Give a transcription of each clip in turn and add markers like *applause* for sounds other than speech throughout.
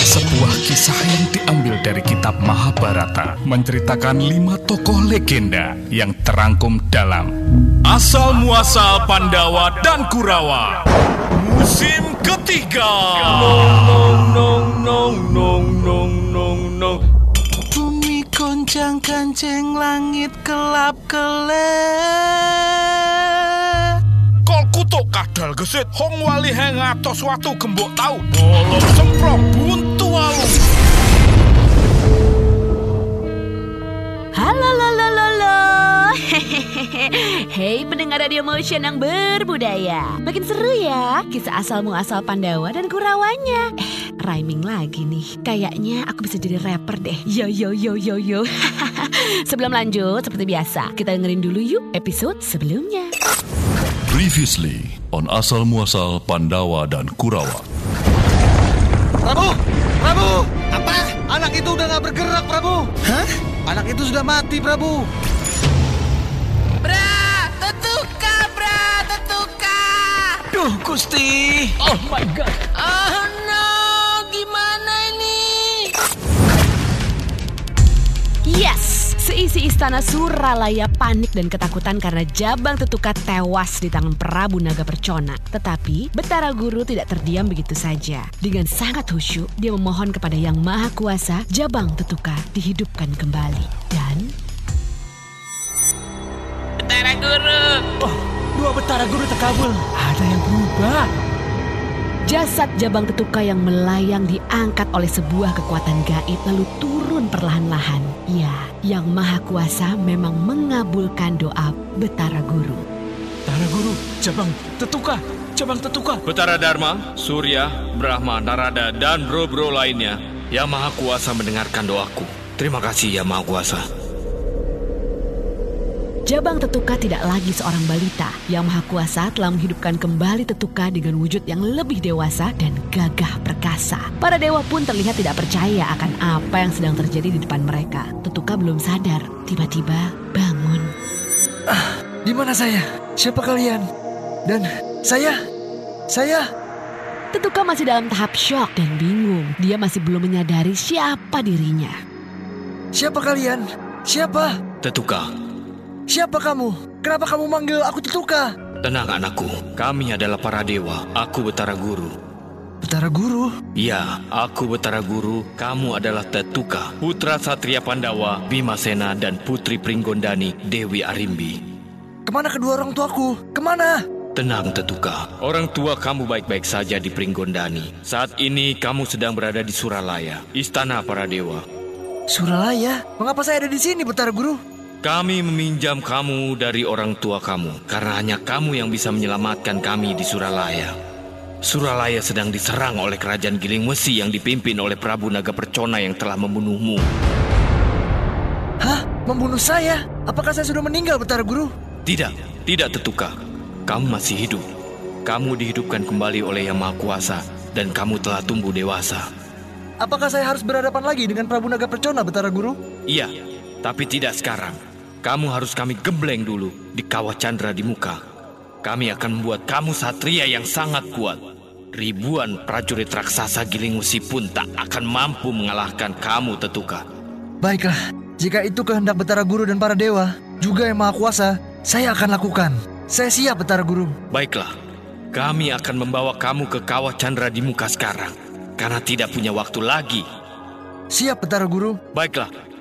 sebuah kisah yang diambil dari kitab Mahabharata menceritakan lima tokoh legenda yang terangkum dalam Asal Muasal Pandawa dan Kurawa Musim ketiga Nong nong nong nong nong nong nong Bumi goncang kancing langit kelap kelep Kol kutuk kadal gesit Hong wali heng atos watu gembok tau Bolong semprong buntu walu Halo, lo, lo, lo, lo. Hei pendengar Radio Motion yang berbudaya Makin seru ya Kisah asal asal Pandawa dan Kurawanya Eh, rhyming lagi nih Kayaknya aku bisa jadi rapper deh Yo, yo, yo, yo, yo *laughs* Sebelum lanjut, seperti biasa Kita dengerin dulu yuk episode sebelumnya Previously on Asal Muasal Pandawa dan Kurawa. Prabu! Prabu! Apa? Anak itu udah nggak bergerak, Prabu! Hah? Anak itu sudah mati, Prabu! Bra, tetuka, bra, tetuka. Duh Gusti Oh no, gimana ini? Yes, seisi istana Suralaya panik dan ketakutan karena Jabang Tetuka tewas di tangan Prabu Naga Percona. Tetapi Betara Guru tidak terdiam begitu saja. Dengan sangat khusyuk, dia memohon kepada Yang Maha Kuasa, Jabang Tetuka dihidupkan kembali. Dan Betara guru, Dua betara guru terkabul Ada yang berubah jasad Jabang Tetuka yang melayang diangkat oleh sebuah kekuatan gaib lalu turun perlahan-lahan. Ya, Yang Maha Kuasa memang mengabulkan doa Betara Guru. Betara guru Jabang tetuka Jabang tetuka Betara Dharma, Surya, Brahma, Narada, dan bro-bro lainnya yang maha kuasa mendengarkan doaku. Terima kasih ya maha kuasa. Jabang Tetuka tidak lagi seorang balita. Yang Maha Kuasa telah menghidupkan kembali Tetuka dengan wujud yang lebih dewasa dan gagah perkasa. Para dewa pun terlihat tidak percaya akan apa yang sedang terjadi di depan mereka. Tetuka belum sadar, tiba-tiba bangun. Di mana saya? Siapa kalian? Dan saya? Saya? Tetuka masih dalam tahap shock dan bingung. Dia masih belum menyadari siapa dirinya. Siapa kalian? Siapa? Tetuka, Siapa kamu? Kenapa kamu manggil aku Tetuka? tenang anakku. Kami adalah para dewa. Aku Betara Guru. Betara Guru? Ya, aku Betara Guru. Kamu adalah Tetuka, putra Satria Pandawa, Bimasena, dan putri Pringgondani, Dewi Arimbi. Kemana kedua orang tuaku? Kemana? Tenang Tetuka, orang tua kamu baik-baik saja di Pringgondani. Saat ini kamu sedang berada di Suralaya, istana para dewa. Suralaya? Mengapa saya ada di sini, Betara Guru? Kami meminjam kamu dari orang tua kamu karena hanya kamu yang bisa menyelamatkan kami di Suralaya. Suralaya sedang diserang oleh kerajaan Giling Wesi yang dipimpin oleh Prabu Naga Percona yang telah membunuhmu. Hah? Membunuh saya? Apakah saya sudah meninggal, Betara Guru? Tidak, tidak tertukar. Kamu masih hidup. Kamu dihidupkan kembali oleh Yang Maha Kuasa dan kamu telah tumbuh dewasa. Apakah saya harus berhadapan lagi dengan Prabu Naga Percona, Betara Guru? Iya, tapi tidak sekarang. Kamu harus kami gembleng dulu di kawah Chandra di muka. Kami akan membuat kamu satria yang sangat kuat. Ribuan prajurit raksasa Gilingusi pun tak akan mampu mengalahkan kamu, Tetuka. Baiklah, jika itu kehendak Betara Guru dan para dewa, juga yang maha kuasa, saya akan lakukan. Saya siap, Betara Guru. Baiklah, kami akan membawa kamu ke kawah Chandra di muka sekarang karena tidak punya waktu lagi. Siap, Betara Guru. Baiklah.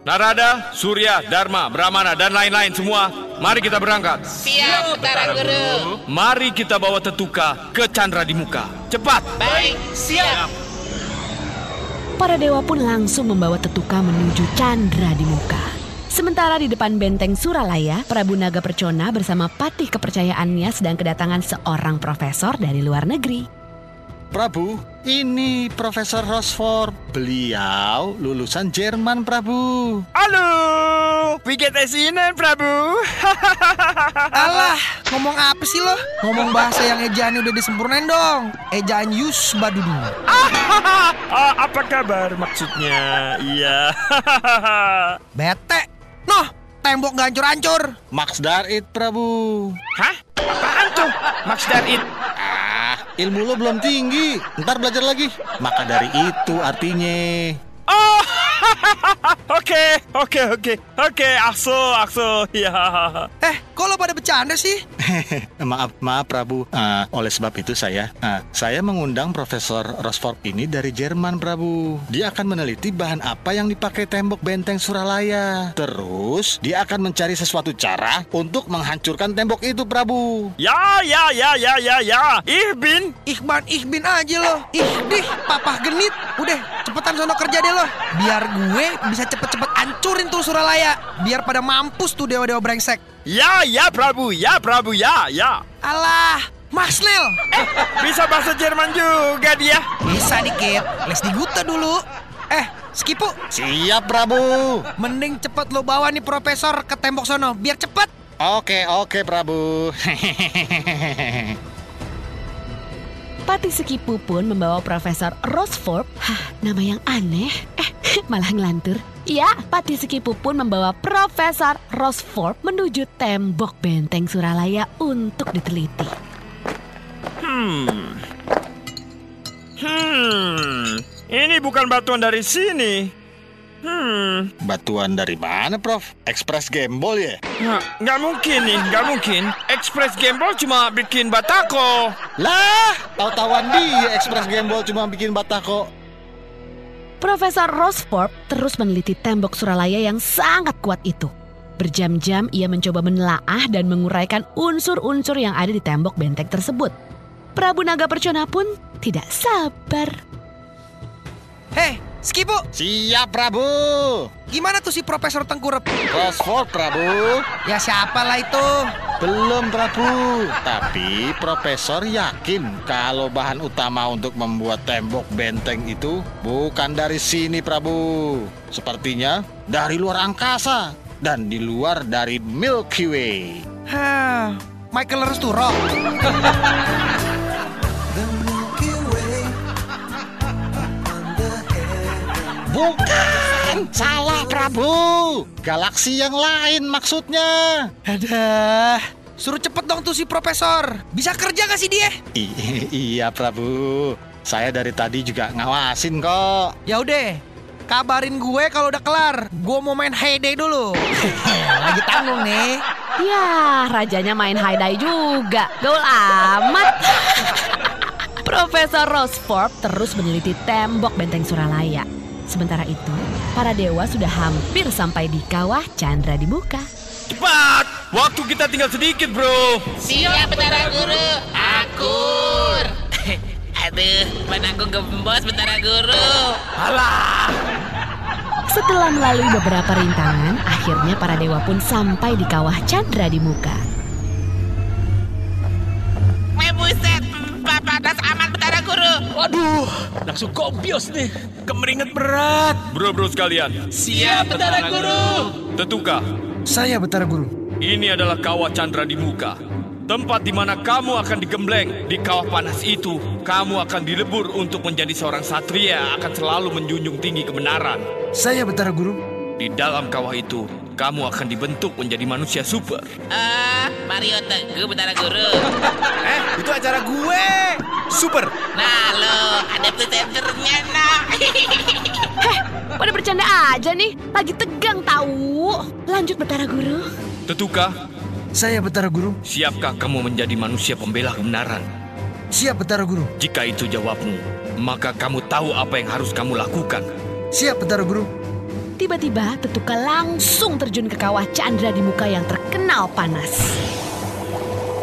Narada, Surya, Dharma, Brahmana, dan lain-lain semua, mari kita berangkat. siap betara guru. Mari kita bawa Tetuka ke Chandra di muka. Cepat! Baik, siap. Para dewa pun langsung membawa Tetuka menuju Chandra di muka. Sementara di depan benteng Suralaya, Prabu Naga Percona bersama patih kepercayaannya sedang kedatangan seorang profesor dari luar negeri. Prabu, ini Profesor Rosfor. Beliau lulusan Jerman, Prabu. Alah, ngomong apa sih lo? Ngomong bahasa yang ejaannya udah disempurnain dong. Ejaan Yus Badudu. Ah, Apa kabar maksudnya? Iya *laughs* Bete. Noh, tembok gak hancur-hancur. Max Darit, Prabu. Ah, Hah? Apaan tuh? Max dan It? Ah, Ilmu lo belum tinggi, ntar belajar lagi. Maka dari itu artinya. Oh, *laughs* oke, oke, oke, oke, aksu, aksu, ya. Eh, kok lo pada bercanda sih? *laughs* maaf, maaf Prabu. Ah, oleh sebab itu saya, ah, saya mengundang Profesor Rosford ini dari Jerman, Prabu. Dia akan meneliti bahan apa yang dipakai tembok benteng Suralaya. Terus dia akan mencari sesuatu cara untuk menghancurkan tembok itu, Prabu. Ya, ya, ya, ya, ya, ya. Ih, bin. Ikhban, ikhbin aja lo. Ih, dih, papah genit. Udah, cepetan sono kerja deh lo. Biar gue bisa cepet-cepet hancurin tuh Suralaya. Biar pada mampus tuh dewa-dewa brengsek. Ya, ya, Prabu, ya, Prabu, ya, ya. Alah, Mas Nil. Eh, bisa bahasa Jerman juga dia. Bisa dikit, les di Guta dulu. Eh, Skipu. Siap, Prabu. Mending cepet lo bawa nih profesor ke tembok sono, biar cepet. Oke, oke, Prabu. *laughs* Pati Sekipu pun membawa Profesor Rosforb, hah, nama yang aneh, eh, *laughs* malah ngelantur. Ya, Pati Sekipu pun membawa Profesor Rosforb menuju tembok benteng Suralaya untuk diteliti. Hmm. Hmm. Ini bukan batuan dari sini. Hmm. Batuan dari mana, Prof? Express Gembol ya? Nggak, nggak mungkin nih, nggak mungkin. Express Gembol cuma bikin batako. Lah, tahu-tahuan dia Express Gembol cuma bikin batako. Profesor Rosford terus meneliti tembok Suralaya yang sangat kuat itu. Berjam-jam ia mencoba menelaah dan menguraikan unsur-unsur yang ada di tembok benteng tersebut. Prabu Naga Percona pun tidak sabar. Hei, Skipu, Siap, Prabu. gimana tuh si Profesor Tengkurep? Rosford, Prabu. Ya siapa lah itu? Belum, Prabu. Tapi Profesor yakin kalau bahan utama untuk membuat tembok benteng itu bukan dari sini, Prabu. Sepertinya dari luar angkasa dan di luar dari Milky Way. Hah, Michael Resturo. Bukan, salah, Prabu. Galaksi yang lain maksudnya. Adah, suruh cepet dong tuh si Profesor. Bisa kerja gak sih dia? I- *laughs* iya, Prabu. Saya dari tadi juga ngawasin kok. Ya udah, kabarin gue kalau udah kelar. Gue mau main Heyday dulu. *laughs* Lagi tanggung nih. Ya, rajanya main haidai juga. Gaul amat. *laughs* Profesor Rosford terus meneliti tembok benteng Suralaya. Sementara itu, para dewa sudah hampir sampai di kawah Chandra di muka. Cepat! Waktu kita tinggal sedikit, bro. Siap, Betara Guru. Akur. *laughs* Aduh, panahku gembos, Betara Guru. Setelah melalui beberapa rintangan, akhirnya para dewa pun sampai di kawah Chandra di muka. Weh, buset. Papadas amat, Betara Guru. Waduh, langsung kopios nih. Kemeringat berat. Bro-bro sekalian, Siap, Betara Guru. tetukah Saya Betara Guru. ini adalah kawah Chandra di muka. Tempat di mana kamu akan digembleng di kawah panas itu, kamu akan dilebur untuk menjadi seorang satria akan selalu menjunjung tinggi kebenaran. Saya Betara Guru. Di dalam kawah itu, kamu akan dibentuk menjadi manusia super. Ah, Mario Teguh, Betara Guru. *laughs* Eh, itu acara gue. Super. Nah, lo, ada presenternya, nah. Pada bercanda aja nih, lagi tegang tahu. Lanjut Betara Guru. Tetukah? Saya Betara Guru. Siapkah kamu menjadi manusia pembela kebenaran? Siap Betara Guru. Jika itu jawabmu, maka kamu tahu apa yang harus kamu lakukan. Siap Betara Guru. Tiba-tiba Tetuka langsung terjun ke kawah Chandra di muka yang terkenal panas.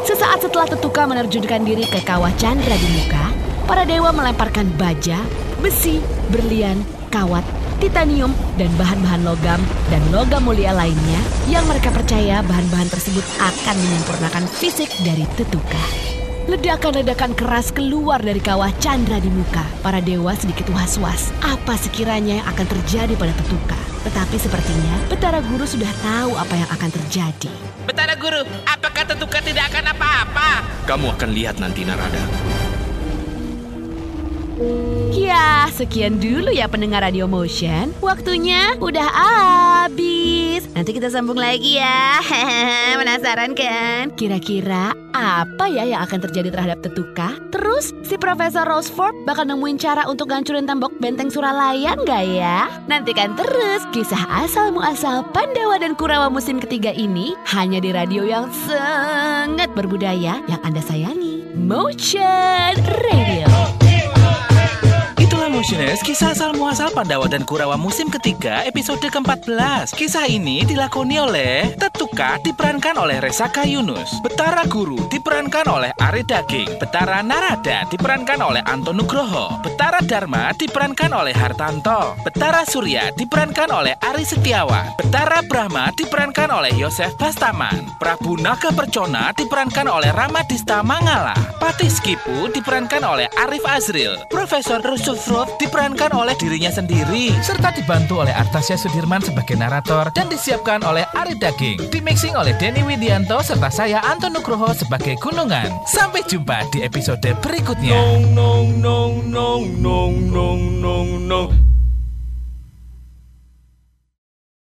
Sesaat setelah Tetuka menerjunkan diri ke kawah Chandra di muka, para dewa melemparkan baja, besi, berlian, kawat, titanium, dan bahan-bahan logam dan logam mulia lainnya yang mereka percaya bahan-bahan tersebut akan menyempurnakan fisik dari Tetuka. Ledakan-ledakan keras keluar dari kawah Chandra di muka. Para dewa sedikit was-was. Apa sekiranya yang akan terjadi pada Tetuka? Tetapi sepertinya Betara Guru sudah tahu apa yang akan terjadi. Betara Guru, apakah tetukan tidak akan apa-apa? Kamu akan lihat nanti, Narada. Ya, sekian dulu ya pendengar Radio Motion. Waktunya udah habis. Nanti kita sambung lagi ya. *laughs* Hehehe, Penasaran kan? Kira-kira apa ya yang akan terjadi terhadap Tetuka? Terus si Profesor Rosford bakal nemuin cara untuk ngancurin tembok benteng Suralaya nggak ya? Nantikan terus kisah asal muasal Pandawa dan Kurawa musim ketiga ini hanya di radio yang sangat berbudaya yang Anda sayangi. Motion Radio. Itulah Motioners, kisah asal muasal Pandawa dan Kurawa musim ketiga episode ke-14. Kisah ini dilakoni oleh Tetuka diperankan oleh Resaka Yunus, Betara Guru diperankan oleh Ari Daging, Betara Narada diperankan oleh Anton Nugroho, Betara Dharma diperankan oleh Hartanto, Betara Surya diperankan oleh Ari Setiawan, Betara Brahma diperankan oleh Yosef Bastaman, Prabu Naga Percona diperankan oleh Ramadista Mangala, Patih Skipu diperankan oleh Arif Azril, Profesor Rusufrov diperankan oleh dirinya sendiri, serta dibantu oleh Artasya Sudirman sebagai narator dan disiapkan oleh Ari Daging, dimixing oleh Denny Widianto serta saya Anton Nugroho sebagai Gunungan. Sampai jumpa di episode berikutnya. Nong nong nong nong nong nong nong nong